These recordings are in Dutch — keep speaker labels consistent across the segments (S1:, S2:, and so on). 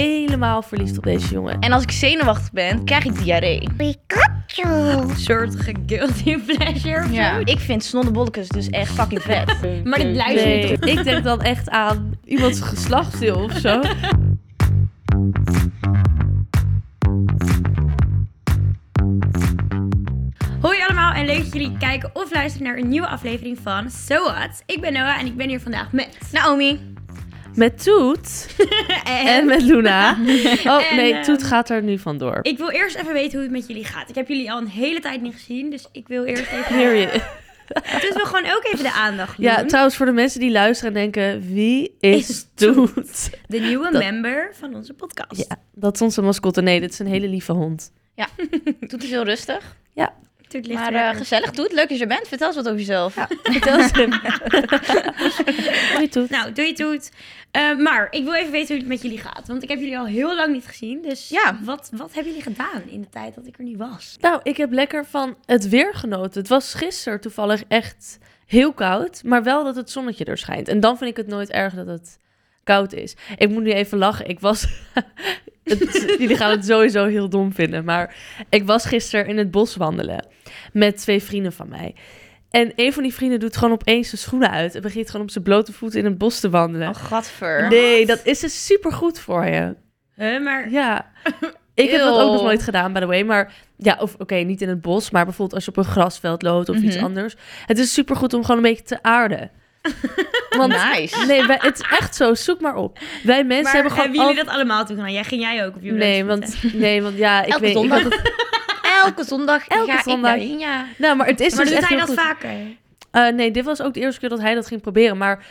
S1: helemaal verliefd op deze jongen.
S2: En als ik zenuwachtig ben, krijg ik diarree.
S3: Pikachu.
S4: Een soort ge- guilty pleasure of zo.
S2: Ik vind snodderbolletjes dus echt fucking vet.
S4: Maar dit luister je
S1: Nee,
S4: toch?
S1: ik denk dan echt aan iemands geslachtsdeel of zo.
S4: Hoi allemaal en leuk dat jullie kijken of luisteren naar een nieuwe aflevering van So What. Ik ben Noah en ik ben hier vandaag met...
S2: Naomi.
S1: Met Toet
S4: En,
S1: en met Luna. Oh
S4: En,
S1: nee,
S4: ehm,
S1: Toet gaat er nu vandoor.
S4: Ik wil eerst even weten hoe het met jullie gaat. Ik heb jullie al een hele tijd niet gezien, dus ik wil eerst even...
S1: Hear je?
S4: Dus we gewoon ook even de aandacht doen.
S1: Ja, trouwens, voor de mensen die luisteren en denken: wie is
S4: Mm. Is
S1: Toet?
S4: de nieuwe
S1: dat-
S4: member van onze podcast.
S1: Ja, dat is onze mascotte. Nee, dit is een hele lieve hond.
S2: Doet het heel rustig.
S4: Natuurlijk ligt
S2: Maar
S4: er-
S2: eh, gezellig doet. Leuk dat je er bent. Vertel eens wat over jezelf.
S1: Vertel eens hem. Hoi Toet.
S4: Nou, doei toet. Eh, maar ik wil even weten hoe het met jullie gaat. Want ik heb jullie al heel lang niet gezien. Dus
S2: Ja.
S4: wat, wat hebben jullie gedaan in de tijd dat ik er niet was?
S1: Nou, ik heb lekker van het weer genoten. Het was gisteren toevallig echt heel koud, maar wel dat het zonnetje er schijnt. En dan vind ik het nooit erg dat het koud is. Ik moet nu even lachen. Ik was. het- jullie gaan het sowieso heel dom vinden, maar ik was gisteren in het bos wandelen met twee vrienden van mij. En een van die vrienden doet gewoon opeens zijn schoenen uit en begint gewoon op zijn blote voeten in het bos te wandelen.
S2: Oh, gadver.
S1: nee, dat is dus super goed voor je.
S4: Huh, maar
S1: Ja. Ik heb dat ook nog
S2: Eeuw.
S1: nooit gedaan, by the way. Maar ja, of oké, niet in het bos, maar bijvoorbeeld als je op een grasveld loopt of iets
S2: Mhm.
S1: anders. Het is supergoed om gewoon een beetje te aarden. Want
S2: Nice.
S1: nee, wij- het is echt zo. Zoek maar op. Wij mensen hebben
S4: maar hebben,
S1: gewoon
S4: jullie
S1: al-
S4: dat allemaal toen gedaan? Jij ging jij ook op je
S1: Nee,
S4: blote voeten?
S1: want nee, want ja, ik
S2: Elke
S1: weet. Ik
S2: zondag.
S1: dacht dat-
S2: Elke zondag
S1: Elke
S2: ga
S1: zondag.
S2: ik daarheen, ja.
S1: nou, maar het is
S4: Maar
S1: dus
S4: doet
S1: echt
S4: hij
S1: heel
S4: dat
S1: goed.
S4: vaker?
S1: Eh, nee, dit was ook de eerste keer dat hij dat ging proberen, maar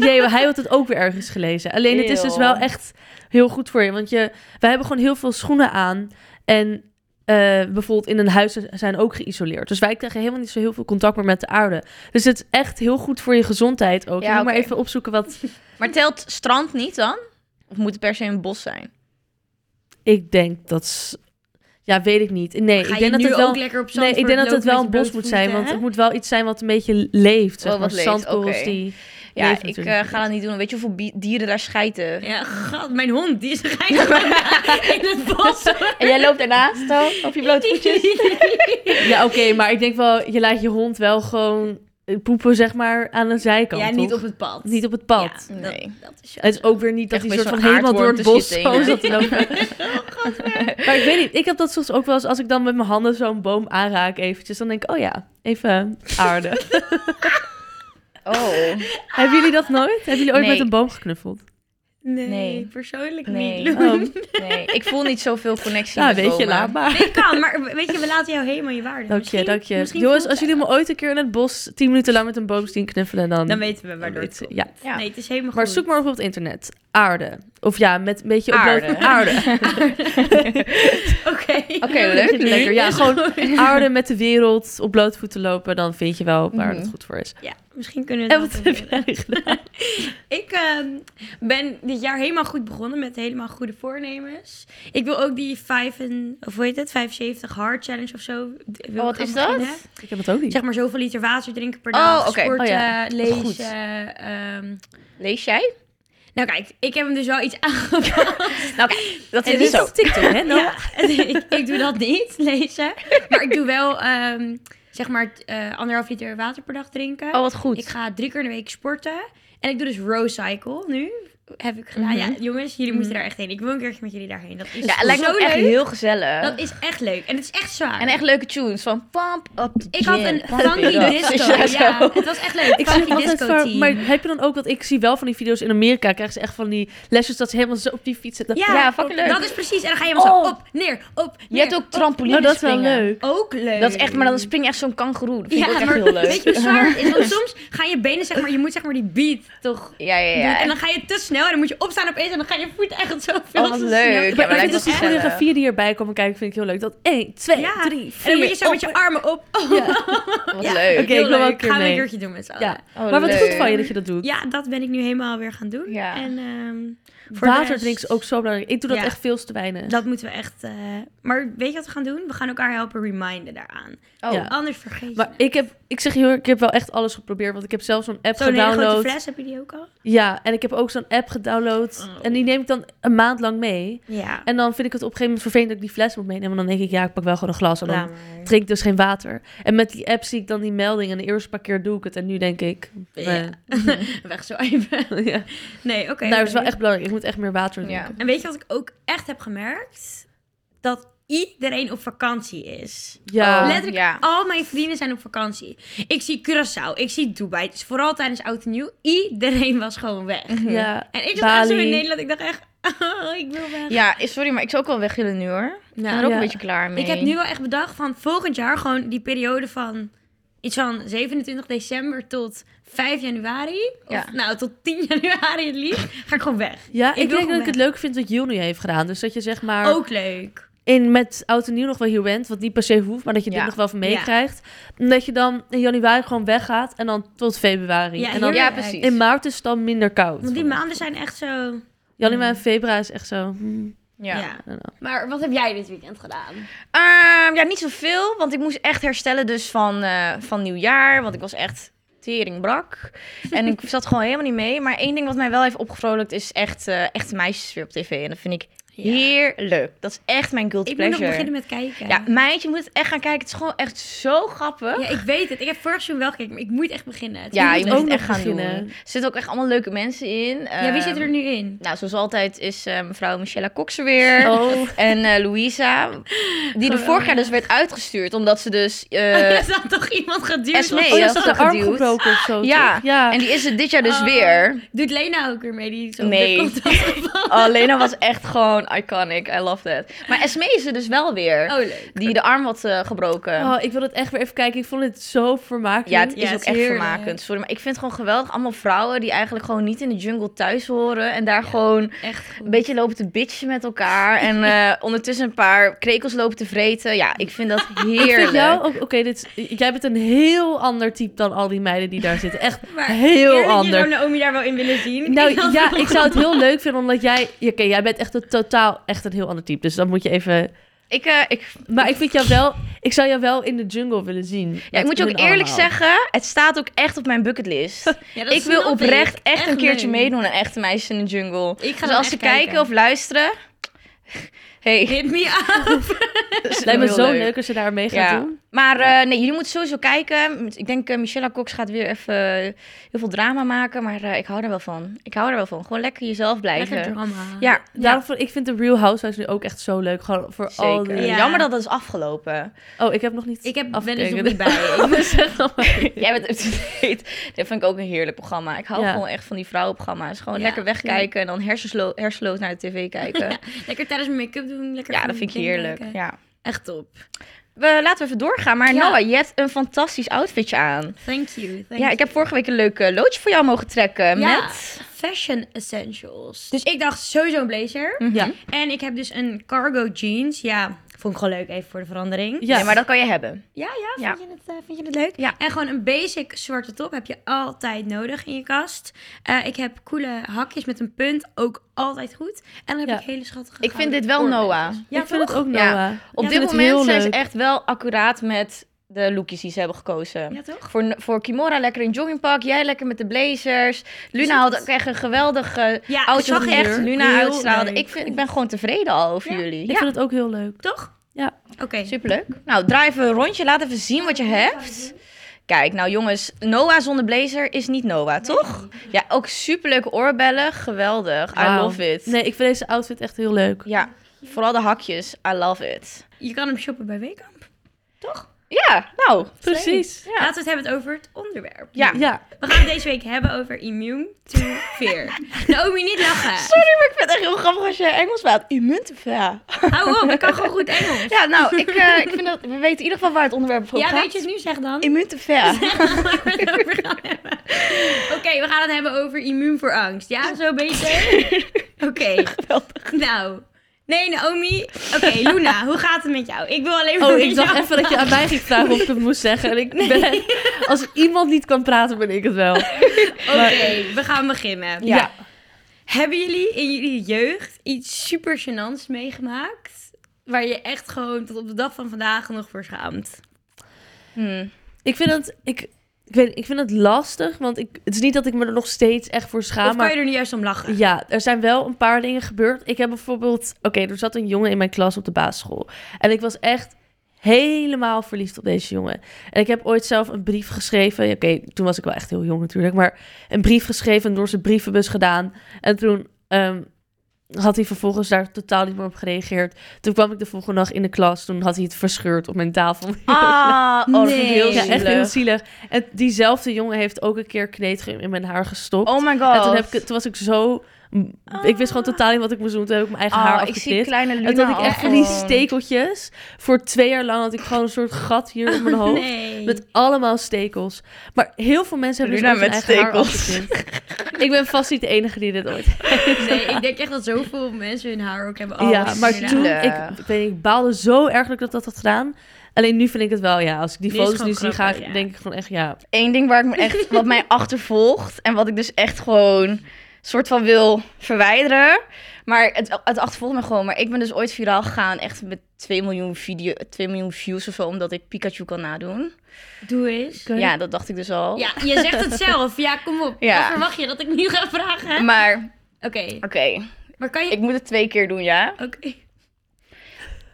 S1: jee, hij had het ook weer ergens gelezen. Alleen het is dus
S2: Eeuw.
S1: wel echt heel goed voor je, want je, wij hebben gewoon heel veel schoenen aan en eh, bijvoorbeeld in een huis zijn ook geïsoleerd. Dus wij krijgen helemaal niet zo heel veel contact meer met de aarde. Dus het is echt heel goed voor je gezondheid ook.
S2: Ja,
S1: Je moet maar
S2: oké.
S1: even opzoeken wat
S2: Maar telt strand niet dan? Of moet het per se een bos zijn?
S1: ik denk dat... s- Ja, weet ik niet. Nee,
S4: Ga
S1: ik
S4: je
S1: denk dat
S4: nu
S1: het wel...
S4: ook lekker op zand
S1: Nee, ik denk dat het wel een bos moet zijn, want het moet wel iets zijn wat een beetje leeft. Zeg
S2: Oh,
S1: maar
S2: wat leeft,
S1: zandkorrels
S2: oké.
S1: die...
S2: Ja,
S1: Leven
S2: ik
S1: natuurlijk
S2: eh, ga dat niet doen. Weet je hoeveel bi- dieren daar schijten?
S4: Ja, god, mijn hond, die is gek in het bos.
S2: En jij loopt daarnaast dan op je blote voetjes?
S1: Ja, oké, maar ik denk wel, je laat je hond wel gewoon eh, poepen, zeg maar, aan de zijkant.
S4: ja, niet
S1: toch?
S4: op het pad.
S1: Niet op het pad.
S4: Ja,
S2: Nee.
S4: dat, dat is wel
S1: Het is ook weer niet dat
S2: Echt
S1: hij soort
S2: met
S1: van
S2: zo'n
S1: helemaal door het
S2: aardworm
S1: bos
S2: tussen je
S1: zo zat te lopen.
S4: Oh,
S1: maar ik weet niet, ik heb dat soms ook wel eens, als ik dan met mijn handen zo'n boom aanraak eventjes, dan denk ik, oh ja, even aarde.
S2: Oh.
S1: hebben jullie dat nooit? Hebben jullie ooit
S2: Nee.
S1: met een boom geknuffeld?
S4: Nee,
S2: Nee.
S4: persoonlijk
S2: Nee.
S4: niet.
S1: Oh,
S2: Nee, ik voel niet zoveel connectie
S1: ja,
S2: met
S1: weet je,
S2: bomen.
S1: nou, laat maar.
S4: Ik kan, maar weet je, we laten jou helemaal je waarde.
S1: Dank je,
S4: Misschien-
S1: dank je.
S4: misschien
S1: Jongens,
S4: voelt
S1: als
S4: hij
S1: jullie me ooit een keer in het bos tien minuten lang met een boom zien knuffelen, dan...
S4: Dan weten we waardoor het
S1: weten-
S4: komt.
S1: ja.
S2: Ja.
S4: Nee, het is helemaal
S1: Maar
S4: goed.
S1: zoek maar op op het internet. Aarde. Of ja, met een beetje op
S2: Aarde.
S1: aarde.
S4: Oké.
S2: Oké, leuk.
S1: Lekker. Ja, gewoon aarde met de wereld op blote voeten lopen. Dan vind je wel waar
S2: Mhm.
S1: het goed voor is.
S4: Ja, misschien kunnen we
S1: En
S4: het
S1: wat
S4: wel
S1: heb
S4: proberen.
S1: jij gedaan?
S4: Ik ehm, ben dit jaar helemaal goed begonnen met helemaal goede voornemens. Ik wil ook die 5 en, of hoe heet het, 75 hard challenge of zo. d- wil ik
S2: Oh, wat
S4: gaan
S2: is dat?
S4: beginnen.
S1: Ik heb het ook niet.
S4: Zeg maar zoveel liter water drinken per
S2: Oh,
S4: dag,
S2: oké.
S4: sporten,
S1: Oh, ja.
S4: lezen.
S1: Goed.
S4: ehm.
S2: Lees jij?
S4: Nou kijk, ik heb hem dus wel iets aangepast.
S2: Nou, dat
S4: En
S2: is dus
S4: dit-
S2: zo.
S1: op TikTok, hè? Nou,
S4: Ja, ik, ik doe dat niet, lezen. Maar ik doe wel ehm, zeg maar t- eh, anderhalf liter water per dag drinken.
S2: Oh, wat goed.
S4: Ik ga drie keer in de week sporten. En ik doe dus row cycle nu. Heb ik gedaan. Ja, jongens, jullie moeten daar echt heen. Ik wil een keertje met jullie daarheen. Dat is
S2: Mhm. Dus Ja, het lijkt me
S4: zo
S2: ook echt
S4: leuk.
S2: heel gezellig.
S4: Dat is echt leuk. En het is echt zwaar.
S2: En echt leuke tunes van Pump Up the
S4: ik had
S2: Jam,
S4: een
S2: Pump It
S4: funky
S2: Up.
S4: disco. Ja,
S2: zo.
S4: het was echt leuk.
S1: Ik zie
S4: funky
S1: altijd
S4: disco
S1: van,
S4: team.
S1: maar heb je dan ook, want ik zie wel van die video's in Amerika, krijgen ze echt van die lesjes dat ze helemaal zo op die fiets zitten.
S4: ja,
S2: ja, fucking leuk.
S4: Dat is precies. En dan ga je helemaal
S2: Oh.
S4: zo op, neer, op, neer.
S2: Je hebt ook trampoline
S1: Nou, dat is wel leuk.
S4: Ook leuk.
S2: Dat is echt, maar dan spring je echt zo'n kangeroe. Dat vind ik ook echt
S4: maar
S2: heel leuk.
S4: weet je hoe zwaar het is? Want soms gaan je benen, zeg maar, je moet zeg maar die beat toch
S2: Ja, ja,
S4: doen.
S2: ja.
S4: En dan ga je te snel en dan moet je opstaan opeens en dan gaan je voeten echt zo veel
S2: Oh, wat
S4: te
S2: leuk.
S4: snel.
S2: Ja,
S1: Maar
S2: maar
S1: ik vind
S2: lijkt me
S1: dus die
S2: wel gezellig.
S1: choreografieën die erbij komen kijken, vind ik heel leuk. Dat 1, 2,
S4: Ja,
S1: 3,
S4: En dan moet je
S1: 4.
S4: zo met je armen op.
S2: Wat
S4: Oh,
S2: leuk.
S1: Oké,
S4: heel
S1: ik wil wel
S4: leuk.
S1: een keer
S4: Gaan we
S1: mee.
S4: een keertje doen met z'n allen.
S1: Ja,
S2: Oh,
S1: maar wat
S2: leuk.
S1: goed van je dat je dat doet.
S4: Ja, dat ben ik nu helemaal weer gaan doen.
S2: Ja.
S4: En ehm, Voor de
S1: Water
S4: rest-
S1: drinken is ook zo belangrijk. Ik doe dat
S4: Ja.
S1: echt veel te weinig.
S4: Dat moeten we echt... eh, maar weet je wat we gaan doen? We gaan elkaar helpen reminden daaraan.
S2: Oh.
S1: Ja.
S4: Anders vergeet
S1: Maar
S4: je.
S1: ik heb, ik zeg je heel eerlijk, ik heb wel echt alles geprobeerd. Want ik heb zelf zo'n app
S4: Zo'n hele grote
S1: gedownload.
S4: fles, heb je die ook al?
S1: Ja, en ik heb ook zo'n app gedownload.
S2: Oh.
S1: En die neem ik dan een maand lang mee.
S4: Ja.
S1: En dan vind ik het op een gegeven moment vervelend dat ik die fles moet meenemen. En dan denk ik, ja, ik pak wel gewoon een glas. En dan
S2: Laat maar.
S1: drink ik dus geen water. En met die app zie ik dan die melding. En de eerste paar keer doe ik het. En nu denk ik, eh,
S2: Ja. Wegzwijven.
S1: ja.
S4: Nee, oké.
S1: Nou, dat is
S4: oké.
S1: wel echt belangrijk. Ik moet echt meer water
S2: Ja.
S1: drinken.
S4: En weet je wat ik ook echt heb gemerkt? Dat iedereen op vakantie is.
S1: Ja.
S2: Oh,
S4: Letterlijk,
S2: ja.
S4: al mijn vrienden zijn op vakantie. Ik zie Curaçao, ik zie Dubai. Het is vooral tijdens Oud en Nieuw. Iedereen was gewoon weg.
S1: ja.
S4: En ik zat echt zo in
S1: Bali.
S4: Nederland. Ik dacht echt, oh, ik wil weg.
S2: Ja, eh, sorry, maar ik zou ook wel weg willen nu hoor. Ik ben er ook
S1: ja.
S2: een beetje klaar mee.
S4: Ik heb nu wel echt bedacht van volgend jaar gewoon die periode van iets van 27 december tot 5 januari.
S2: Ja.
S4: Of nou, tot 10 januari het liefst. Ga ik gewoon weg. Oh,
S1: Ja,
S4: Ik
S1: ik,
S4: wil
S1: denk
S4: gewoon
S1: dat ik het leuk vind wat Jill nu heeft gedaan. Dus dat je zeg maar
S4: Ook leuk.
S1: in, met oud en nieuw nog wel hier bent. Wat niet per se hoeft, maar dat je dit
S2: Ja.
S1: nog wel van
S4: Ja.
S1: meekrijgt. En Dat je dan in januari gewoon weggaat. En dan tot februari.
S4: Ja,
S1: en dan
S4: heerlijk.
S2: Ja, precies.
S1: in maart is het dan minder koud.
S4: Want die
S1: Voor mij.
S4: maanden zijn echt zo...
S1: Januari en februari is echt zo. hmm,
S2: Ja.
S4: ja.
S1: I don't know.
S4: Maar wat heb jij dit weekend gedaan?
S2: Ehm, ja, niet zoveel, want ik moest echt herstellen dus van, eh, van nieuwjaar. Want ik was echt teringbrak. En ik zat gewoon helemaal niet mee. Maar één ding wat mij wel heeft opgevrolijkt is echt, eh echt meisjes weer op tv. En dat vind ik heerlijk. Dat is echt mijn guilty
S4: Ik moet nog
S2: pleasure.
S4: beginnen met kijken.
S2: Ja, meid, je moet het echt gaan kijken. Het is gewoon echt zo grappig.
S4: Ja, ik weet het. Ik heb vorig seizoen wel gekeken, maar ik moet echt beginnen. Het-
S2: Ja,
S1: moet
S2: je moet
S1: ook
S2: het echt
S1: nog
S2: gaan
S1: beginnen.
S2: doen. Er zitten ook echt allemaal leuke mensen in.
S4: ja, wie zit er
S2: Ehm,
S4: nu in?
S2: Nou, zoals altijd is eh, mevrouw Michelle Cox er weer.
S1: Oh,
S2: En eh, Louisa, die er
S4: Geweldig.
S2: vorig jaar dus werd uitgestuurd, omdat ze dus... eh,
S4: er zat toch iemand geduwd?
S2: Esmee,
S4: of
S1: oh
S4: zo?
S1: ja,
S2: dat
S1: is dat
S2: is
S1: de arm
S2: geduwd.
S1: gebroken of zo?
S2: Ja.
S1: toch? ja.
S2: En die is het dit jaar dus
S4: Oh.
S2: weer.
S4: Doet Lena ook weer mee? Die zo
S2: Nee.
S4: op de kont had
S2: Oh,
S4: gevallen?
S2: Lena was echt gewoon iconic. I love that. Maar Esmee is er dus wel weer.
S4: Oh, leuk.
S2: Die de arm had eh, gebroken.
S1: Oh, ik wil het echt weer even kijken. Ik vond het zo vermakelijk.
S2: Ja, het is
S4: Ja, het
S2: ook
S4: is
S2: echt
S4: heerlijk.
S2: vermakend. Sorry, maar ik vind het gewoon geweldig. Allemaal vrouwen die eigenlijk gewoon niet in de jungle thuis horen. En daar gewoon
S4: Echt goed.
S2: een beetje lopen te bitchen met elkaar. En eh, ondertussen een paar krekels lopen te vreten. Ja, ik vind dat
S1: Ik vind jou
S2: heerlijk.
S1: ook... Oké, dit is- jij bent een heel ander type dan al die meiden die daar zitten. Echt
S4: Maar
S1: heel ander.
S4: Ik zou Naomi daar wel in willen zien. Ik
S1: Nou
S4: had
S1: ja,
S4: wel-
S1: ik zou het heel leuk vinden omdat jij... ja, Oké, jij bent echt een totaal echt een heel ander type. Dus dan moet je even...
S2: Ik, eh, ik,
S1: Maar ik vind jou wel... Ik zou jou wel in de jungle willen zien.
S2: ja, ik moet je ook eerlijk zeggen, het staat ook echt op mijn bucketlist.
S4: Ja, dat
S2: ik wil
S4: snap
S2: oprecht
S4: ik.
S2: echt, een keertje
S4: leuk.
S2: meedoen aan Echte Meisjes in de Jungle.
S4: Ik
S2: dus
S4: ga dan
S2: als
S4: echt
S2: ze kijken,
S4: kijken.
S2: of luisteren, hey,
S4: Hit me up.
S2: dat is
S1: Het lijkt me
S2: heel
S1: zo leuk. als je daar mee gaat
S2: Ja.
S1: doen.
S2: Maar eh, nee, jullie moeten sowieso kijken. Ik denk eh Michelle Cox gaat weer even eh, heel veel drama maken, maar eh, ik hou er wel van. Ik hou er wel van. Gewoon lekker jezelf blijven.
S4: Lekker drama.
S2: ja,
S1: Daarom vond ik vind de Real Housewives nu ook echt zo leuk. Gewoon voor al
S2: zeker.
S1: die...
S4: Ja.
S2: Jammer dat dat is afgelopen.
S1: Oh, ik heb nog niet
S4: Ik heb ben er
S1: afgekeken.
S4: nog niet bij.
S1: Dus zeg dan maar.
S2: Jij bent up to date. Dat vind ik ook een heerlijk programma. Ik hou
S1: Ja.
S2: gewoon echt van die vrouwenprogramma's. Gewoon
S4: Ja,
S2: lekker wegkijken en dan hersenslo- hersenloos naar de tv kijken. Ja,
S4: Lekker tijdens mijn make-up doen. Lekker van
S2: dat vind ik
S4: dingen
S2: heerlijk.
S4: kijken.
S2: Ja.
S4: Echt top.
S2: We, laten we even doorgaan. Maar
S4: Ja.
S2: Noah, je hebt een fantastisch outfitje aan.
S4: Thank you. thank
S2: ja,
S4: you.
S2: ik heb vorige week een leuk eh, loodje voor jou mogen trekken.
S4: Ja,
S2: Met...
S4: Fashion Essentials. Dus ik dacht sowieso een blazer.
S2: Mhm.
S1: Ja.
S4: En ik heb dus een cargo jeans. Ja, vond ik gewoon leuk even voor de verandering.
S1: Ja.
S2: Nee, maar dat kan je hebben.
S4: Ja, ja,
S2: Ja.
S4: vind, Je, het, eh, vind je het leuk?
S2: Ja.
S4: En gewoon een basic zwarte top heb je altijd nodig in je kast. Eh, ik heb coole hakjes met een punt, ook altijd goed. En dan heb
S1: Ja.
S4: ik hele schattige
S2: Ik vind
S4: gouden
S2: dit wel
S4: oorbellen.
S2: Noah.
S4: Ja,
S1: ik vind
S4: toch?
S1: het ook
S2: Ja.
S1: Noah.
S2: Op
S1: Ik
S2: dit
S1: vind het heel
S2: moment zijn ze
S1: leuk.
S2: echt wel accuraat met de lookjes die ze hebben gekozen.
S4: Ja, toch?
S2: Voor, voor Kimora lekker in joggingpak, jij lekker met de blazers. Luna
S4: het.
S2: had ook echt een geweldige
S4: Ja,
S2: outfit
S4: Ah, zag
S2: die
S4: ik.
S2: echt Luna
S4: Heel
S2: uitstraalde.
S4: leuk.
S2: Ik, vind, ik ben gewoon tevreden al over
S4: Ja.
S2: jullie.
S1: Ik
S2: Ja,
S1: vind het ook heel leuk.
S4: Toch?
S1: Ja.
S4: Oké.
S2: superleuk. Nou, draai even een rondje. Laat even zien wat je hebt. Kijk, nou jongens, Noah zonder blazer is niet Noah, toch? Ja, ook superleuke oorbellen. Geweldig. I
S1: Wauw.
S2: love it.
S1: Nee, ik vind deze outfit echt heel leuk.
S2: Ja, vooral de hakjes. I love it.
S4: Je kan hem shoppen bij Weekamp. Toch?
S2: Ja, nou.
S1: Precies.
S2: Ja.
S4: Laten we het hebben over het onderwerp.
S2: Ja.
S1: Ja,
S4: We gaan het deze week hebben over immune to fear. Naomi, niet lachen.
S2: Sorry, maar ik vind het echt heel grappig als je Engels praat. Immuntefa.
S4: Hou op, ik kan gewoon goed Engels.
S2: Ja, nou, ik, eh, ik vind dat... We weten in ieder geval waar het onderwerp over
S4: Ja,
S2: gaat.
S4: weet je het nu? Zeg dan.
S2: Immuntefa.
S4: waar we het over gaan hebben. Oké, we gaan het hebben over immuun voor angst. Ja, zo beter? Oké. Nou. Nee, Naomi. Oké, Luna, hoe gaat het met jou? Ik wil alleen maar
S1: Oh,
S4: met
S1: ik dacht
S4: jou
S1: even dat je aan mij ging vragen of ik het moest zeggen. En ik ben, als iemand niet kan praten, ben ik het wel.
S4: Oké, we gaan beginnen.
S2: Ja.
S4: Hebben jullie in jullie jeugd iets super gênants meegemaakt? Waar je echt gewoon tot op de dag van vandaag nog voor schaamt?
S2: Hmm.
S1: Ik vind het, ik, ik, weet, ik vind het lastig, want ik, het is niet dat ik me er nog steeds echt voor schaam.
S4: of
S1: maar
S4: kan je er nu juist om lachen?
S1: Ja, er zijn wel een paar dingen gebeurd. Ik heb bijvoorbeeld... Oké, er zat een jongen in mijn klas op de basisschool. En ik was echt helemaal verliefd op deze jongen. En ik heb ooit zelf een brief geschreven. Ja, Oké, toen was ik wel echt heel jong natuurlijk. Maar een brief geschreven en door zijn brievenbus gedaan. En toen ehm, had hij vervolgens daar totaal niet meer op gereageerd. Toen kwam ik de volgende dag in de klas. Toen had hij het verscheurd op mijn tafel.
S2: Ah, oh, dat vind ik
S4: Nee.
S2: heel
S1: ja, echt
S2: zielig.
S1: heel zielig. En diezelfde jongen heeft ook een keer knetgum in mijn haar gestopt.
S2: Oh my god.
S1: En toen, heb ik, toen was ik zo... Ik wist gewoon totaal niet wat ik moest doen. Toen heb ik mijn eigen haar
S2: Ah, ik zie
S1: afgeknipt.
S2: kleine Luna
S1: en toen had ik
S2: al
S1: echt van die
S2: gewoon.
S1: stekeltjes. Voor twee jaar lang had ik gewoon een soort gat hier in mijn hoofd.
S4: Nee.
S1: Met allemaal stekels. Maar heel veel mensen hebben dus
S2: Luna
S1: ook hun
S2: met
S1: eigen haar
S2: stekels.
S1: afgeknipt. ik ben vast niet de enige die dit ooit
S4: Nee, ik denk echt dat zoveel mensen hun haar ook hebben
S1: Ja,
S4: afgesneden.
S1: maar
S2: Oh, zielig.
S1: toen... Ik, ik, weet, niet, ik baalde zo erg dat ik dat had gedaan. Alleen nu vind ik het wel, ja. Als ik die
S4: Nu is het
S1: foto's nu zie,
S4: gewoon
S1: ga ik,
S4: grappig, ja.
S1: denk ik gewoon echt, ja.
S2: Eén ding waar ik me echt, wat mij achtervolgt en wat ik dus echt gewoon soort van wil verwijderen. Maar het, het achtervolgt me gewoon. Maar ik ben dus ooit viraal gegaan, echt met 2 miljoen, video, 2 miljoen views of zo, omdat ik Pikachu kan nadoen.
S4: Doe eens.
S1: Oké.
S2: Ja, dat dacht ik dus al.
S4: Ja, je zegt het zelf. Ja, kom op.
S2: Ja. Mm.
S4: Wat verwacht je dat ik nu ga vragen? Oké.
S2: Maar oké,
S4: Maar kan je...
S2: ik moet het twee keer doen, ja?
S4: Oké.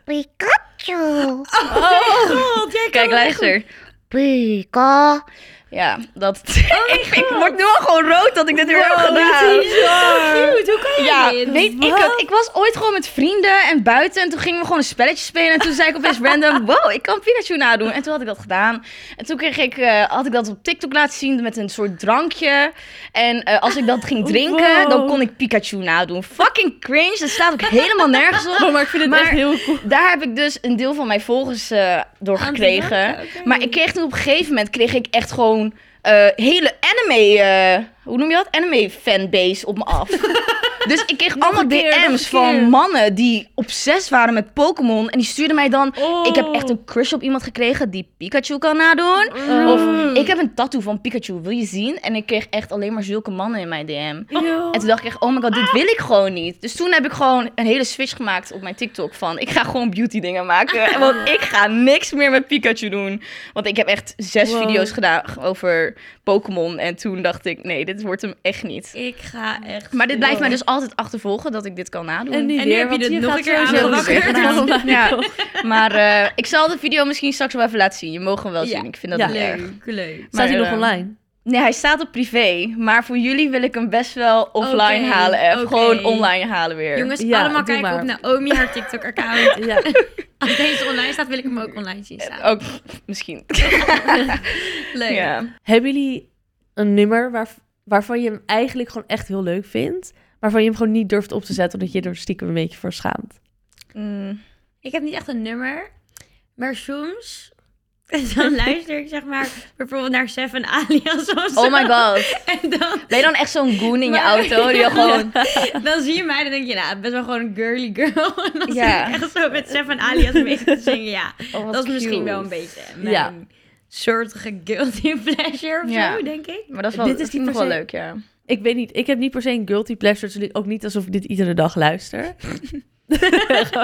S3: Pikachu.
S4: God, jij kan
S2: Oh. Kijk,
S4: het echt
S2: luister.
S3: Pika.
S2: Ja, dat. ik, ik word nu al gewoon rood dat ik dit weer heb gedaan.
S4: goed. Zo cute. Hoe kan je
S2: Ja,
S4: dit?
S2: weet ik het. Ik was ooit gewoon met vrienden en buiten. En toen gingen we gewoon een spelletje spelen. En toen zei ik opeens random, wow, ik kan Pikachu nadoen. En toen had ik dat gedaan. En toen kreeg ik, eh, had ik dat op TikTok laten zien met een soort drankje. En eh, als ik dat ging drinken,
S1: Wow.
S2: dan kon ik Pikachu nadoen. Fucking cringe. Dat staat ook helemaal nergens op.
S1: Oh, maar ik vind het
S2: Maar-
S1: echt heel cool.
S2: Daar heb ik dus een deel van mijn volgers eh,
S1: Ah,
S2: door
S4: Aan te
S2: gekregen.
S4: werken, oké.
S2: Maar ik kreeg toen op een gegeven moment kreeg ik echt gewoon eh, hele anime. eh, hoe noem je dat? Anime fanbase op me af. dus ik kreeg allemaal
S1: een keer, nog een
S2: DM's van
S1: keer.
S2: mannen die obsessief waren met Pokémon. En die stuurden mij dan.
S1: Oh.
S2: Ik heb echt een crush op iemand gekregen die Pikachu kan nadoen.
S1: Mm.
S2: Of ik heb een tattoo van Pikachu, wil je zien? En ik kreeg echt alleen maar zulke mannen in mijn DM.
S1: Yo.
S2: En toen dacht ik echt, oh my god, dit wil ik gewoon niet. Dus toen heb ik gewoon een hele switch gemaakt op mijn TikTok van... ik ga gewoon beauty dingen
S4: Ah.
S2: maken, want ik ga niks meer met Pikachu doen. Want ik heb echt zes
S1: Wow.
S2: video's gedaan over Pokémon. En toen dacht ik, nee, dit wordt hem echt niet.
S4: Ik ga echt...
S2: Maar dit blijft mij dus altijd achtervolgen dat ik dit kan nadoen.
S1: En nu,
S4: En nu
S1: weer,
S4: heb je
S1: want
S4: dit nog
S1: gaat
S4: een keer
S1: sowieso
S4: aangewakkerd.
S1: weer gedaan.
S2: Ja. Ja. Maar eh, ik zal de video misschien straks wel even laten zien. Je mag hem wel
S4: Ja.
S2: zien, ik vind dat
S1: Ja.
S2: niet erg.
S4: Leuk, leuk.
S1: Staat hij
S2: Maar,
S1: nog
S2: eh,
S1: online?
S2: Nee, hij staat op privé. Maar voor jullie wil ik hem best wel offline
S4: Oké,
S2: halen. Even
S4: oké.
S2: gewoon online halen weer.
S4: Jongens,
S1: Ja,
S4: allemaal
S1: doe
S4: kijken
S1: maar.
S4: op Naomi, haar TikTok-account.
S1: Ja.
S4: Als deze online staat, wil ik hem ook online zien staan.
S2: Ook misschien.
S4: Leuk.
S2: Oh, Ja.
S1: Hebben jullie een nummer waar, waarvan je hem eigenlijk gewoon echt heel leuk vindt, waarvan je hem gewoon niet durft op te zetten omdat je er stiekem een beetje voor schaamt?
S2: Mm.
S4: Ik heb niet echt een nummer, maar soms... Dan luister ik zeg maar bijvoorbeeld naar Seven Alias of zo.
S2: Oh my god.
S4: En dan,
S2: Ben je dan echt zo'n goon in je
S4: Maar-
S2: auto? Die dan gewoon...
S4: dan zie je mij dan denk je, nou, best wel gewoon een girly girl. En dan
S2: Ja.
S4: zit ik echt zo met Seven Alias mee te zingen, ja.
S2: Oh, wat
S4: Dat is misschien
S2: cute.
S4: wel een beetje mijn
S1: Ja.
S4: soortige guilty pleasure of
S2: Ja.
S4: zo, denk ik.
S2: Maar dat is wel,
S1: Dit is
S2: dat
S1: niet
S2: vind ik
S1: per se-
S2: wel leuk, ja.
S1: Ik weet niet, ik heb niet per se een guilty pleasure, dus ook niet alsof ik dit iedere dag luister.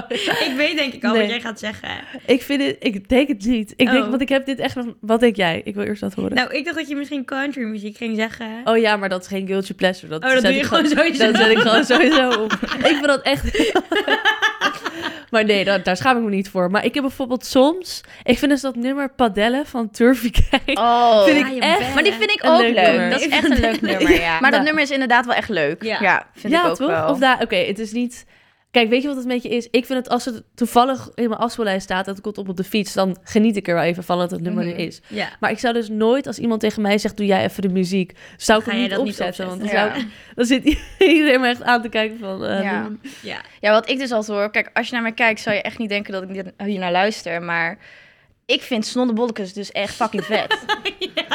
S4: Ik weet denk ik al
S1: Nee.
S4: wat jij gaat zeggen.
S1: ik vind het, ik denk het niet. Ik denk,
S4: Oh.
S1: want ik heb dit echt nog. Wat denk jij? Ik wil eerst dat horen.
S4: Nou, ik dacht dat je misschien country muziek ging zeggen.
S1: Oh ja, maar dat is geen guilty pleasure. Dat,
S4: Oh, dat
S1: zet
S4: doe je
S1: ik
S4: gewoon sowieso.
S1: Dat zet ik gewoon sowieso op. ik vind dat echt... maar nee, dat- daar schaam ik me niet voor. Maar ik heb bijvoorbeeld soms... Ik vind dus dat nummer Padellen van Turfy Kijk.
S2: Oh.
S1: vind
S4: Ah,
S1: ik
S4: je
S1: echt...
S4: bent-
S2: Maar die vind ik
S1: Een
S2: ook
S1: leuk
S2: leuk.
S1: nummer.
S2: Dat is
S4: Ik
S2: echt
S4: vind
S2: een leuk
S4: het
S2: nummer, ja. Maar dat
S1: Ja.
S2: nummer is inderdaad wel echt leuk.
S4: Ja.
S2: Ja, vind
S1: ja,
S2: ik ook
S1: toch?
S2: wel.
S1: Of daar... Oké, het is niet... Kijk, weet je wat het met je is? Ik vind het als het toevallig in mijn afspeellijst staat... dat komt op op de fiets, dan geniet ik er wel even van dat het nummer
S2: Mhm.
S1: er is.
S4: Ja.
S1: Maar ik zou dus nooit, als iemand tegen mij zegt... doe jij even de muziek, zou ik
S4: Ga
S1: hem
S4: jij
S1: niet
S4: dat niet
S1: opzetten. want dan,
S4: opzetten?
S1: zou ik- dan zit iedereen me echt aan te kijken van... eh,
S2: Ja.
S4: Ja.
S2: Ja, wat ik dus altijd hoor. Kijk, als je naar mij kijkt, zou je echt niet denken dat ik niet- hier naar luister. Maar ik vind Snollebollekes dus echt fucking vet.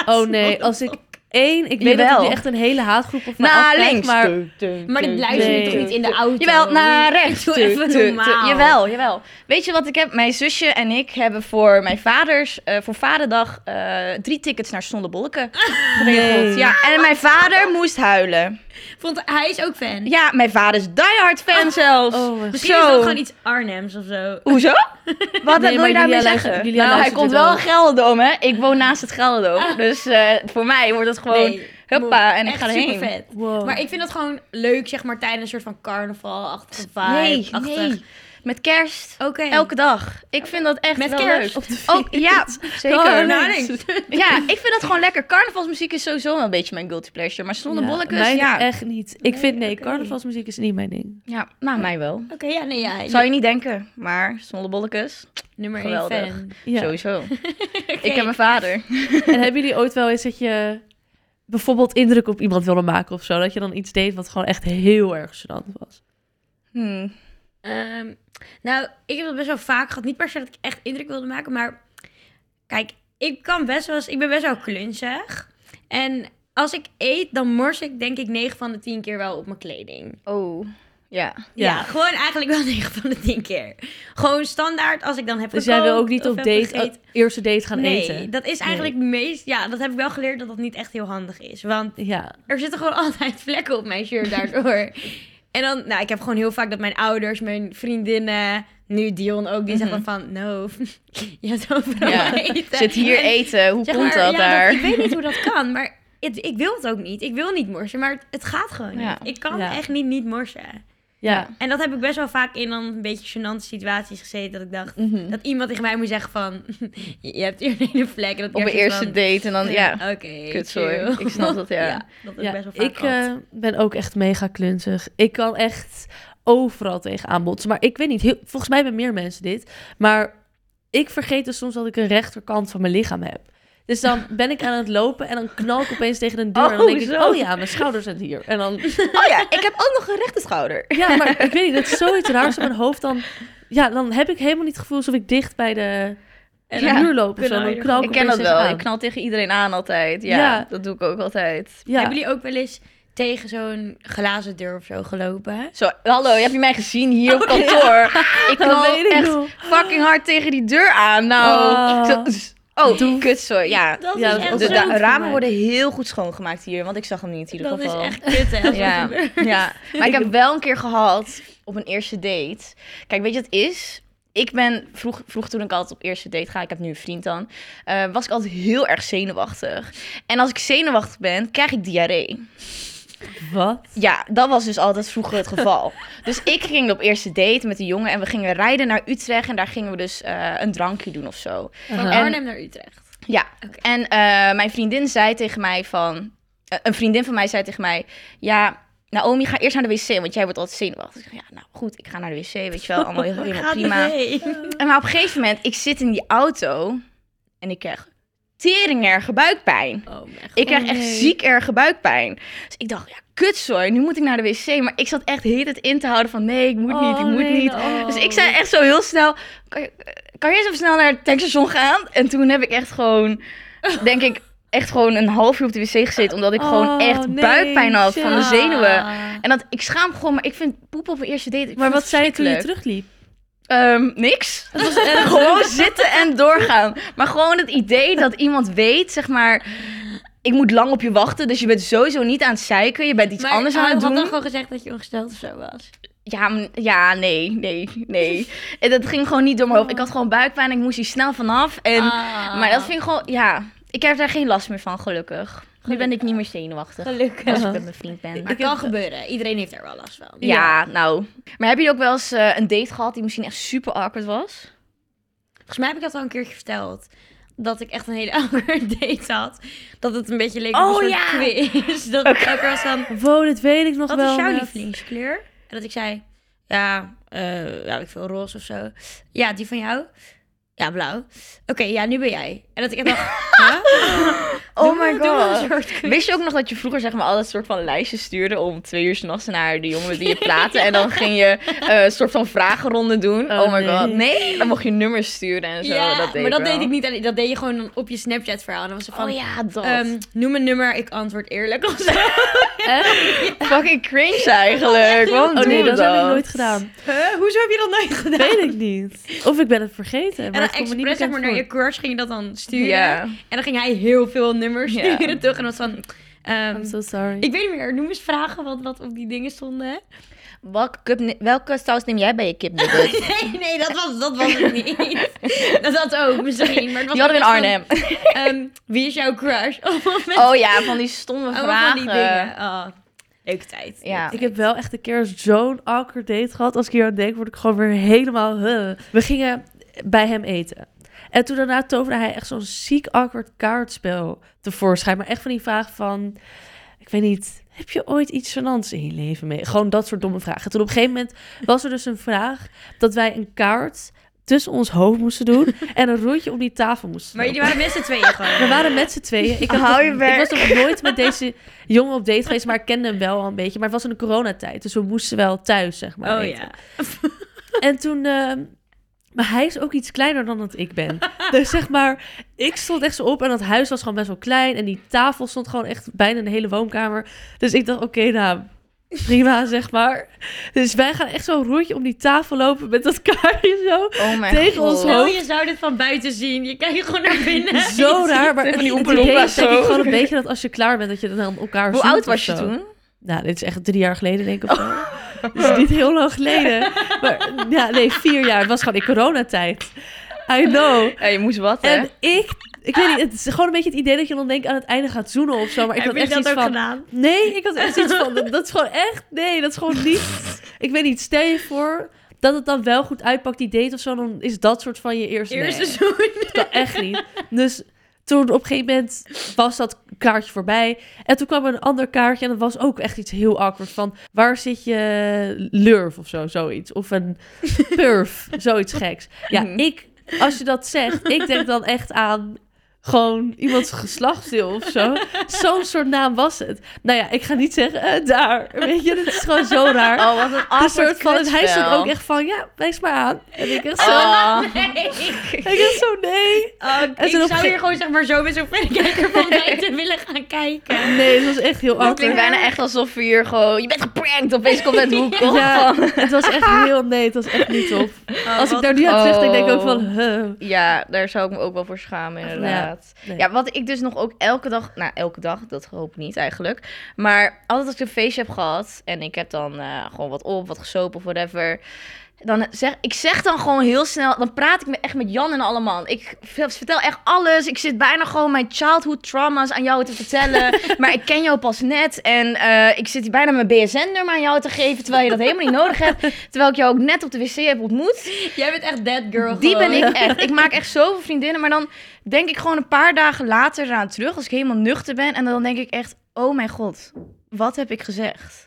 S1: Oh nee, als ik één... Ik weet dat ik
S2: Jawel.
S1: nu echt een hele haatgroep op me
S2: naar
S1: afkrijg,
S2: links.
S1: Nou, maar...
S2: Teun, teun,
S4: Maar
S2: teun,
S4: dit luister je
S1: Nee.
S4: toch niet in de auto?
S2: Jawel, naar rechts.
S4: Doe
S2: Tu,
S4: even
S2: tu, tu.
S4: normaal.
S2: Jawel, jawel. Weet je wat ik heb? Mijn zusje en ik hebben voor mijn vaders, eh, voor vaderdag, eh, drie tickets naar Snollebolleke geregeld.
S1: Nee.
S2: Ja, en mijn vader moest huilen.
S4: Vond, hij is ook fan.
S2: Ja, mijn vader is diehard fan zelfs. Dus
S1: Oh, mijn
S4: Misschien is dat
S2: Zo.
S4: gewoon iets Arnhems of zo.
S2: Hoezo? Wat
S1: Nee,
S2: wil
S1: maar
S2: je daarmee
S1: Julia
S2: zeggen?
S1: luistert- Julia
S2: nou, hij
S1: luistert
S2: komt
S1: dit
S2: wel
S1: ook.
S2: in Gelderdoom, hè? Ik woon naast het Gelderdoom. Dus eh, voor mij wordt het gewoon...
S4: Nee,
S2: huppa, en ik
S4: echt
S2: ga erheen.
S4: supervet.
S1: Wow.
S4: Maar ik vind dat gewoon leuk, zeg maar, tijdens een soort van carnaval-achtige vibe.
S2: Nee,
S4: achtig.
S2: nee. Met kerst.
S4: Oké.
S2: Elke dag. Ik vind dat echt
S4: Oh, Met
S2: wel
S4: kerst
S2: leuk.
S1: op de
S2: Ook, ja, zeker.
S1: Oh,
S4: Nou,
S1: nee.
S4: nee.
S2: Ja, ik vind dat gewoon lekker. Carnavalsmuziek is sowieso wel een beetje mijn guilty pleasure. Maar zonder bolletjes,
S1: Mij
S2: ja.
S1: echt niet. Ik vind, nee,
S4: oké.
S1: carnavalsmuziek is niet mijn ding.
S2: ja. Nou, mij wel.
S4: Oké, ja, nee, ja.
S2: Zou je niet denken, maar zonder bolletjes,
S4: nummer
S2: Geweldig.
S4: één fan.
S1: Ja.
S2: sowieso. Ik heb mijn vader.
S1: En hebben jullie ooit wel eens dat je bijvoorbeeld indruk op iemand wilde maken of zo? Dat je dan iets deed wat gewoon echt heel erg gênant was?
S2: Hm.
S4: Ehm, nou, ik heb dat best wel vaak gehad. Niet per se dat ik echt indruk wilde maken, maar kijk, ik kan best wel eens, ik ben best wel klunzig. En als ik eet, dan mors ik denk ik 9 van de 10 keer wel op mijn kleding.
S2: Oh, ja.
S4: Ja,
S1: Ja.
S4: gewoon eigenlijk wel 9 van de 10 keer. Gewoon standaard als ik dan heb
S1: Dus jij wil
S4: gekookt
S1: ook niet
S4: of
S1: op
S4: heb
S1: date,
S4: gegeten.
S1: op eerste date gaan
S4: nee,
S1: eten?
S4: dat is eigenlijk meest... Ja, dat heb ik wel geleerd dat dat niet echt heel handig is. Want
S1: Ja.
S4: er zitten gewoon altijd vlekken op mijn shirt daardoor. en dan, nou, ik heb gewoon heel vaak dat mijn ouders, mijn vriendinnen, nu Dion ook, die zeggen van, no, je hebt
S2: Mhm.
S4: overal
S2: Ja.
S4: eten.
S2: Zit hier
S4: En
S2: eten, hoe
S4: zeg
S2: komt
S4: maar,
S2: dat
S4: ja,
S2: daar?
S4: ik weet niet hoe dat kan, maar het- ik wil het ook niet. Ik wil niet morsen, maar het, het gaat gewoon
S2: Ja.
S4: niet. Ik kan
S1: Ja.
S4: echt niet niet morsen.
S1: Ja.
S4: En dat heb ik best wel vaak in dan een beetje gênante situaties gezeten, dat ik dacht...
S2: Mhm.
S4: Mm. Dat iemand tegen mij moet zeggen van, je hebt hier een hele vlek. En dat ik
S2: Op een
S4: echt zoiets
S2: eerste
S4: van,
S2: date en dan, ja.
S4: Oké,
S2: Kutzooi.
S4: chill.
S2: Ik snap dat, ja.
S4: dat heb ik
S1: Ja,
S4: best wel vaak
S1: ik
S4: gehad.
S1: eh, ben ook echt mega klunzig. Ik kan echt overal tegen aanbotsen. Maar ik weet niet, heel, volgens mij hebben meer mensen dit. Maar ik vergeet dus soms dat ik een rechterkant van mijn lichaam heb. Dus dan ben ik aan het lopen en dan knal ik opeens tegen een deur. en dan
S2: Oh,
S1: denk ik,
S2: zo.
S1: oh ja, mijn schouders zijn hier. En dan,
S2: Oh ja, ik heb ook nog een rechte schouder.
S1: ja, maar ik weet niet, dat is zoiets raars in mijn hoofd. Dan, ja, dan heb ik helemaal niet het gevoel alsof ik dicht bij de, de
S2: Ja,
S1: muur loop. of zo.
S4: knal je
S1: Dan
S4: er
S1: knal ik,
S2: Ik ken dat
S1: opeens
S2: wel.
S1: tegenaan.
S2: Ik knal tegen iedereen aan altijd. Ja,
S1: Ja.
S2: dat doe ik ook altijd.
S1: Ja.
S4: Hebben jullie ook wel eens tegen zo'n glazen deur of zo gelopen?
S2: Zo, hallo, heb je mij gezien hier op kantoor? Ik knal
S1: weet ik
S2: echt
S1: nog.
S2: fucking hard tegen die deur aan. Nou,
S1: Oh.
S2: Ik zo- zzz. oh, kut zo. Ja,
S4: Dat
S1: Ja,
S4: is
S1: dat
S4: echt
S1: is
S2: de
S1: ook
S4: zo.
S1: zo.
S2: da- ramen
S1: mij.
S2: worden heel goed schoongemaakt hier, want ik zag hem niet in ieder
S4: Dat is
S2: geval.
S4: echt kut, hè? als dat
S2: Ja,
S4: gebeurt.
S2: ja, maar ik heb wel een keer gehad op een eerste date. Kijk, weet je wat het is? Ik ben vroeg, vroeg toen ik altijd op eerste date ga, ik heb nu een vriend dan, eh, was ik altijd heel erg zenuwachtig. En als ik zenuwachtig ben, krijg ik diarree.
S1: Wat?
S2: Ja, dat was dus altijd vroeger het geval. Dus ik ging op eerste date met een jongen en we gingen rijden naar Utrecht en daar gingen we dus eh, een drankje doen of zo.
S4: Van
S1: Aha.
S4: Arnhem naar Utrecht.
S2: Ja, en eh, mijn vriendin zei tegen mij van... eh, een vriendin van mij zei tegen mij... Ja, Naomi, ga eerst naar de wc, want jij wordt altijd zenuwachtig. Ik zeg, ja, nou goed, ik ga naar de wc, weet je wel. Allemaal heel- helemaal prima.
S4: Oh,
S2: En maar op een gegeven moment, ik zit in die auto en ik krijg tering erge buikpijn.
S4: Oh, mijn
S2: Ik krijg echt ziek erge buikpijn. Dus ik dacht, ja, kutzooi, nu moet ik naar de wc. Maar ik zat echt de hele tijd in te houden van... Nee, ik moet niet, ik
S1: Oh,
S2: moet
S1: nee,
S2: niet.
S1: oh.
S2: Dus ik zei echt zo heel snel, kan je, kan je eens even snel naar het tankstation gaan? En toen heb ik echt gewoon, denk ik, echt gewoon een half uur op de wc gezeten. Omdat ik gewoon
S1: Oh,
S2: echt
S1: nee,
S2: buikpijn had van de
S1: shit.
S2: zenuwen.
S4: Ah.
S2: En dat, ik schaam me gewoon, maar ik vind poep op mijn eerste date. ik
S1: Maar
S2: vind
S1: wat
S2: het
S1: zei je toen je
S2: verschrikkelijk.
S1: terugliep?
S2: Ehm, niks. gewoon zitten en doorgaan. Maar gewoon het idee dat iemand weet, zeg maar... Ik moet lang op je wachten, dus je bent sowieso niet aan het zeiken. Je bent iets
S4: Maar
S2: anders aan
S4: hij
S2: het
S4: had
S2: doen.
S4: dan gewoon gezegd dat je ongesteld of zo was.
S2: Ja, m- ja, nee, nee, nee. En dat ging gewoon niet door mijn hoofd. Ik had gewoon buikpijn en ik moest hier snel vanaf. En,
S4: Oh. Ah.
S2: Maar dat vind ik gewoon, ja. Ik heb daar geen last meer van, gelukkig. Nu ben ik niet meer zenuwachtig
S4: Gelukkig.
S2: als ik met mijn vriend ben.
S4: Maar het kan gebeuren. Iedereen heeft er wel last van.
S2: Ja, nou. Maar heb je ook wel eens eh, een date gehad die misschien echt super awkward was?
S4: Volgens mij heb ik dat al een keertje verteld. Dat ik echt een hele awkward date had. Dat het een beetje leek op
S2: Oh,
S4: een soort
S2: ja.
S4: quiz. Dat ik elke keer was van,
S1: Wow, dit weet ik nog
S4: Wat
S1: wel.
S4: is jouw
S1: net.
S4: lievelingskleur? En dat ik zei, ja, eh ja, ik veel roze of zo. Ja, die van jou? Ja, blauw. Oké, ja, nu ben jij. En dat ik echt dacht, huh?
S2: Oh
S4: Doe maar- doe maar een soort quiz.
S2: Wist je ook nog dat je vroeger zeg maar altijd soort van lijstjes stuurde om twee uur s'nachts naar de jongen met wie je praatte en dan ging je eh, een soort van vragenronde doen? Oh,
S1: Oh,
S2: my
S1: nee.
S2: god, nee! Dan mocht je nummers sturen en zo.
S4: Ja,
S2: dat deed
S4: maar dat
S2: wel.
S4: deed ik niet. alleen- Dat deed je gewoon dan op je Snapchat verhaal. En dan was ze van,
S2: Oh ja, dat.
S4: ehm, noem een nummer, ik antwoord eerlijk of zo.
S2: Fucking cringe eigenlijk. Waarom
S1: Oh
S2: doen
S1: nee,
S2: we
S1: dat heb ik nooit gedaan.
S4: Huh? Hoezo heb je dat nooit gedaan?
S1: Weet ik niet. Of ik ben het vergeten.
S4: En
S1: Maar
S4: dan
S1: het komt me niet
S4: expres zeg
S1: bekend
S4: maar
S1: voor.
S4: naar je crush ging je dat dan sturen.
S2: Ja.
S4: En dan ging hij heel veel nummers
S2: Ja.
S4: sturen terug. En dan was van, Ehm,
S1: I'm so sorry.
S4: ik weet niet meer, noem eens vragen wat, wat op die dingen stonden. hè?
S2: Welke, cup ne- welke saus neem jij bij je kipnuggets?
S4: Nee, nee, dat was, dat was het niet. dat had ook misschien. Maar het was
S2: Die hadden we in
S4: ook
S2: Arnhem.
S4: iets van, ehm, wie is jouw crush? Allemaal met-
S2: Oh ja, van die stomme
S4: allemaal
S2: vragen.
S4: van die dingen. Oh, leuke tijd.
S2: Ja.
S1: Ik heb wel echt een keer zo'n awkward date gehad. Als ik hier aan denk, word ik gewoon weer helemaal... huh. We gingen bij hem eten. En toen daarna toverde hij echt zo'n ziek awkward kaartspel tevoorschijn. Maar echt van die vraag van... Ik weet niet, heb je ooit iets gênants in je leven mee? Gewoon dat soort domme vragen. Toen op een gegeven moment was er dus een vraag dat wij een kaart tussen ons hoofd moesten doen en een rondje om die tafel moesten
S4: Maar
S1: lopen.
S4: jullie waren met z'n tweeën
S1: We
S4: gewoon.
S1: waren met z'n tweeën. Ik, had
S2: Hou
S1: nog-
S2: je werk.
S1: ik was nog nooit met deze jongen op date geweest, maar ik kende hem wel al een beetje. Maar het was in de coronatijd, dus we moesten wel thuis, zeg maar.
S4: Oh
S1: eten.
S4: ja.
S1: En toen... ehm, maar hij is ook iets kleiner dan dat ik ben. Dus zeg maar, ik stond echt zo op en dat huis was gewoon best wel klein. En die tafel stond gewoon echt bijna de hele woonkamer. Dus ik dacht, oké, nou, prima, zeg maar. Dus wij gaan echt zo'n rondje om die tafel lopen met dat kaartje zo.
S2: Oh mijn
S1: Tegen
S2: god.
S1: ons
S4: Stel,
S1: hoofd.
S4: je zou dit van buiten zien. Je kijkt gewoon naar binnen.
S1: Zo raar, maar het
S2: die Oompa
S1: idee
S2: Loompa
S1: is denk
S2: zo.
S1: ik gewoon een beetje dat als je klaar bent, dat je dan aan elkaar
S2: Hoe
S1: zoent
S2: oud
S1: of
S2: was je
S1: zo.
S2: toen?
S1: Nou, dit is echt drie jaar geleden, denk ik of
S4: Oh.
S1: zo. Dus niet heel lang geleden. Maar, ja, nee, vier jaar. Het was gewoon in coronatijd. I know.
S2: Ja, je moest wat, hè?
S1: En ik, ik weet niet, het is gewoon een beetje het idee dat je dan denkt aan het einde gaat zoenen of zo. Maar ik
S4: Heb
S1: had
S4: je
S1: echt
S4: dat
S1: iets
S4: ook
S1: van,
S4: gedaan?
S1: Nee, ik had echt iets van. Dat, dat is gewoon echt. Nee, dat is gewoon niet. Ik weet niet, stel je voor dat het dan wel goed uitpakt, die date of zo. Dan is dat soort van je eerste.
S4: Eerste
S1: nee,
S4: seizoen.
S1: dat kan echt niet. Dus toen op een gegeven moment was dat kaartje voorbij. En toen kwam er een ander kaartje en dat was ook echt iets heel awkward. Van waar zit je lurf of zo, zoiets. Of een purf, zoiets geks. Ja,
S2: Mhm.
S1: ik, als je dat zegt, ik denk dan echt aan gewoon iemands geslachtsdeel of zo. Zo'n soort naam was het. Nou ja, ik ga niet zeggen, eh, daar. Weet je, dat is gewoon zo raar.
S2: Oh, wat een
S1: Een
S2: awkward
S1: soort van, en hij stond
S2: kutspel.
S1: ook echt van, ja, wijs maar aan. En ik echt zo,
S2: Oh.
S1: Ah.
S4: Nee.
S1: ik echt zo, nee.
S4: Oh,
S1: toen
S4: ik
S1: op een
S4: zou
S1: gege-
S4: hier gewoon zeg maar zo met zo'n verrekijker van buiten willen gaan kijken.
S1: Nee, het was echt heel
S2: Het klinkt
S1: awkward.
S2: bijna echt alsof je hier gewoon... Je bent geprankt, opeens komt het hoek op.
S1: Ja, het was echt heel... Nee, het was echt niet tof. Als ik daar nu aan
S2: Oh.
S1: terugdenk, denk ik ook van... huh.
S2: Ja, daar zou ik me ook wel voor schamen, inderdaad. Ja,
S1: nee.
S2: wat ik dus nog ook elke dag... Nou, elke dag, dat hoop ik niet eigenlijk. Maar altijd als ik een feestje heb gehad... en ik heb dan eh, gewoon wat op, wat gesopen of whatever... Dan zeg, ik zeg dan gewoon heel snel... Dan praat ik me echt met Jan en allemaal. Ik v- vertel echt alles. Ik zit bijna gewoon mijn childhood trauma's aan jou te vertellen. maar ik ken jou pas net. En eh, ik zit hier bijna mijn BSN-nummer aan jou te geven... terwijl je dat helemaal niet nodig hebt. Terwijl ik jou ook net op de wc heb ontmoet.
S4: Jij bent echt that girl
S2: Die ben
S4: gewoon.
S2: ik
S1: Oh.
S2: echt. Ik maak echt zoveel vriendinnen. Maar dan denk ik gewoon een paar dagen later eraan terug. Als ik helemaal nuchter ben. En dan denk ik echt: oh mijn god, wat heb ik gezegd?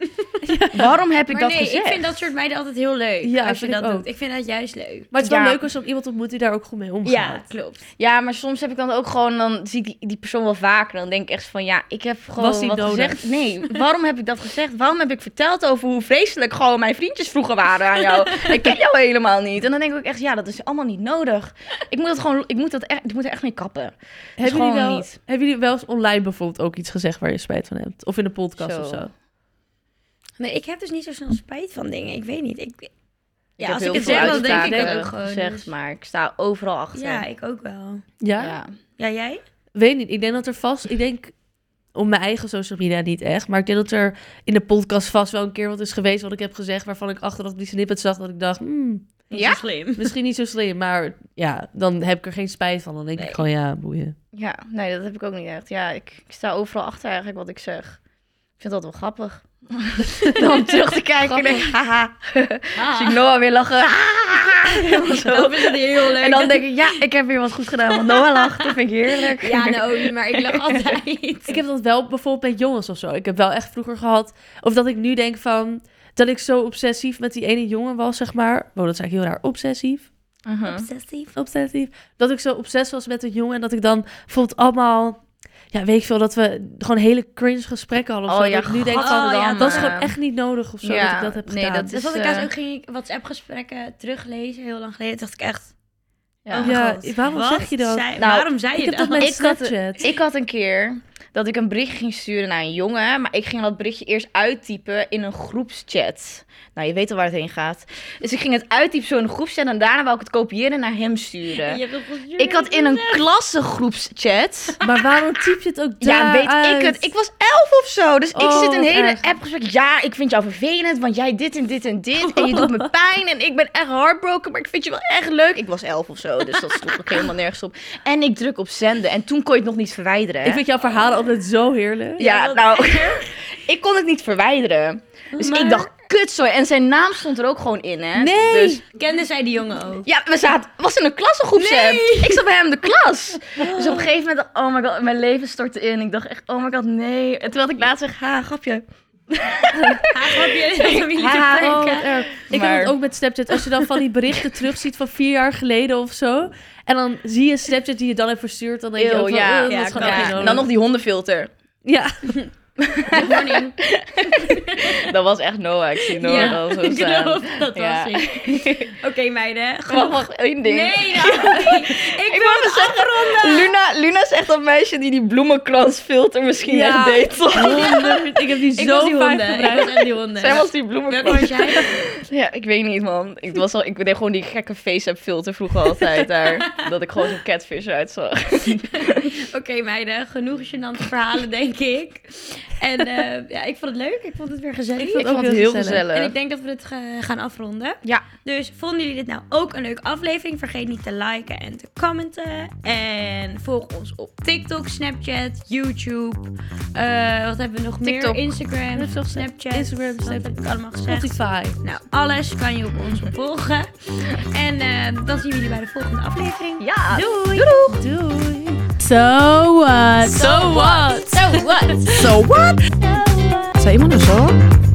S2: Waarom heb ik
S4: Maar
S2: dat
S4: nee,
S2: gezegd?
S4: ik vind dat soort meiden altijd heel leuk.
S1: Ja,
S4: als je
S1: vind ik
S4: dat
S1: ook.
S4: doet. Ik vind dat juist leuk.
S1: Maar het is wel
S2: Ja.
S1: leuk als je dan iemand ontmoet die daar ook goed mee omgaat.
S4: Ja, klopt.
S2: Ja, maar soms heb ik dan ook gewoon. Dan zie ik die, die persoon wel vaker. Dan denk ik echt van: ja, ik heb gewoon
S1: Was die
S2: wat
S1: nodig?
S2: gezegd. Nee, waarom heb ik dat gezegd? Waarom heb ik verteld over hoe vreselijk gewoon mijn vriendjes vroeger waren aan jou? ik ken jou helemaal niet. En dan denk ik ook echt: ja, dat is allemaal niet nodig. Ik moet dat gewoon. Ik moet, dat echt, ik moet er echt mee kappen. Dat is
S1: Hebben jullie,
S2: gewoon
S1: wel,
S2: niet.
S1: hebben jullie wel eens online bijvoorbeeld ook iets gezegd waar je spijt van hebt? Of in een podcast
S2: Zo.
S1: of zo?
S4: Nee, ik heb dus niet zo snel spijt van dingen. Ik weet niet. Ik, ja,
S2: heb
S4: als
S2: heel
S4: ik het
S2: veel
S4: zeg, dan denk ik
S2: uitspraken
S4: het ook gewoon.
S2: gezegd,
S4: Dus-
S2: maar ik sta overal achter.
S4: Ja, ik ook wel.
S1: Ja?
S2: Ja.
S4: Ja, jij?
S1: Weet niet. Ik denk dat er vast... Ik denk om mijn eigen social media niet echt. Maar ik denk dat er in de podcast vast wel een keer wat is geweest wat ik heb gezegd. Waarvan ik achteraf die snippet zag dat ik dacht... hmm,
S4: Niet
S2: Ja?
S4: zo slim.
S1: misschien niet zo slim. Maar ja, dan heb ik er geen spijt van. Dan denk
S4: Nee.
S1: ik gewoon ja, boeien.
S2: Ja, nee, dat heb ik ook niet echt. Ja, ik, ik sta overal achter eigenlijk wat ik zeg. Ik vind dat wel grappig. Dan terug te kijken en denk ik, haha. Zie ik Noah weer lachen. Helemaal zo.
S4: Ah. Dat vind ik heel leuk.
S2: En dan denk ik, ja, ik heb weer wat goed gedaan, want Noah lacht. Dat vind ik heerlijk.
S4: Ja, nou, maar ik lach altijd.
S1: Ik heb dat wel bijvoorbeeld met jongens of zo. Ik heb wel echt vroeger gehad. Of dat ik nu denk van. Dat ik zo obsessief met die ene jongen was, zeg maar. Wow, dat is eigenlijk heel raar. Obsessief.
S2: Mhm.
S4: Obsessief.
S1: Obsessief. Dat ik zo obsess was met een jongen. En dat ik dan bijvoorbeeld allemaal. Ja, weet ik veel. Dat we gewoon hele cringe gesprekken hadden. Of
S2: Oh
S1: zo.
S2: ja,
S1: Dat ik nu denk
S4: god.
S1: van. eh,
S4: Oh, ja,
S1: dat is
S2: maar-
S1: gewoon echt niet nodig of zo.
S2: Ja,
S1: Dat ik dat heb
S2: nee,
S1: gedaan.
S2: dat is-
S4: Dat was ik
S2: eh,
S4: laatst ook, ging ik WhatsApp-gesprekken teruglezen, heel lang geleden. dacht ik echt,
S2: Ja.
S4: oh
S1: Ja,
S4: god,
S1: waarom
S4: wat
S1: zeg je dat?
S4: zei-
S2: Nou,
S4: waarom zei
S1: ik
S4: je
S1: heb dat
S4: dat?
S1: met
S2: Ik had-
S1: Snapchat.
S2: Ik had een keer dat ik een berichtje ging sturen naar een jongen. Maar ik ging dat berichtje eerst uittypen in een groepschat. Nou, je weet al waar het heen gaat. Dus ik ging het uittypen zo in een groepschat en daarna wou ik het kopiëren en naar hem sturen. Ik had in een klassengroepschat.
S1: Maar waarom typ je het ook daar
S2: Ja, weet ik het. Ik was elf of zo. Dus ik
S1: Oh,
S2: zit een hele
S1: echt.
S2: appgesprek. Ja, ik vind jou vervelend, want jij dit en dit en dit. En je doet me pijn. En ik ben echt heartbroken, maar ik vind je wel echt leuk. Ik was elf of zo, dus dat sloeg ook helemaal nergens op. En ik druk op zenden. En toen kon je het nog niet verwijderen. hè?
S1: Ik vind jouw verhalen altijd zo heerlijk.
S2: Ja, nou, ik kon het niet verwijderen. Dus ik
S4: Maar-
S2: dacht, kut zo. En zijn naam stond er ook gewoon in, hè?
S1: Nee!
S2: Dus,
S4: Kende zij die jongen ook?
S2: ja, we zaten, was in een klassengroep, Sam. Ik zat bij hem in de klas. Dus op een gegeven moment, dacht ik, oh my god, mijn leven stortte in. Ik dacht echt, oh my god, nee. En toen had ik laatst zeg,
S1: Ah,
S2: ha, grapje.
S4: Haar grapje in de familie
S2: Ja,
S4: te
S1: Oh, wat
S4: breken.
S1: erg. Ik
S2: Maar-
S1: heb het ook met Snapchat. Als je dan van die berichten terugziet van vier jaar geleden of zo. En dan zie je Snapchat die je dan hebt verstuurd. Dan denk je
S2: Eeuw,
S1: ook van,
S2: ja.
S1: eh, dat
S4: Ja,
S1: is gewoon
S4: kan.
S1: echt
S2: Ja,
S1: niet nodig.
S2: dan nog die hondenfilter.
S1: Ja.
S4: Warning.
S2: Dat was echt Noah, ik zie Noah
S4: Ja,
S2: al zo
S4: ik
S2: staan.
S4: geloof dat
S2: Ja.
S4: was ik. Oké, meiden.
S2: Wacht, wacht, één ding.
S4: Nee, nou, niet. Ik wil het afronden.
S2: Luna, Luna is echt dat meisje die die bloemenkransfilter misschien
S1: Ja.
S2: echt deed.
S1: Honderd. Ik heb die
S4: Ik
S1: zo
S4: was die
S1: vaak
S4: honden. Ik
S1: gebruikt.
S4: was echt die honden.
S2: Zij was die
S4: Welke
S2: bloemenkrans.
S4: was jij?
S2: Ja, ik weet niet, man. Ik, was al, ik deed gewoon die gekke face-app filter vroeger altijd daar. dat ik gewoon zo'n catfish uitzag.
S4: Oké, meiden. Genoeg gênante verhalen, denk ik. En eh, ja, ik vond het leuk. Ik vond het weer gezellig.
S1: vond het ook heel gezellig.
S4: En ik denk dat we dit eh, gaan afronden.
S2: Ja.
S4: Dus vonden jullie dit nou ook een leuke aflevering? Vergeet niet te liken en te commenten. En volg ons op TikTok, Snapchat, YouTube. Eh, wat hebben we nog
S2: TikTok.
S4: meer? Instagram, Snapchat.
S1: Instagram,
S4: Dat
S1: Snapchat.
S4: heb ik allemaal gezegd.
S1: Spotify.
S4: Nou, alles kan je op ons volgen. En eh, dan zien we jullie bij de volgende aflevering.
S2: Ja.
S4: Doei!
S1: Doei. So what? So what?
S4: So what?
S2: So what?
S3: Seguimos nosotros.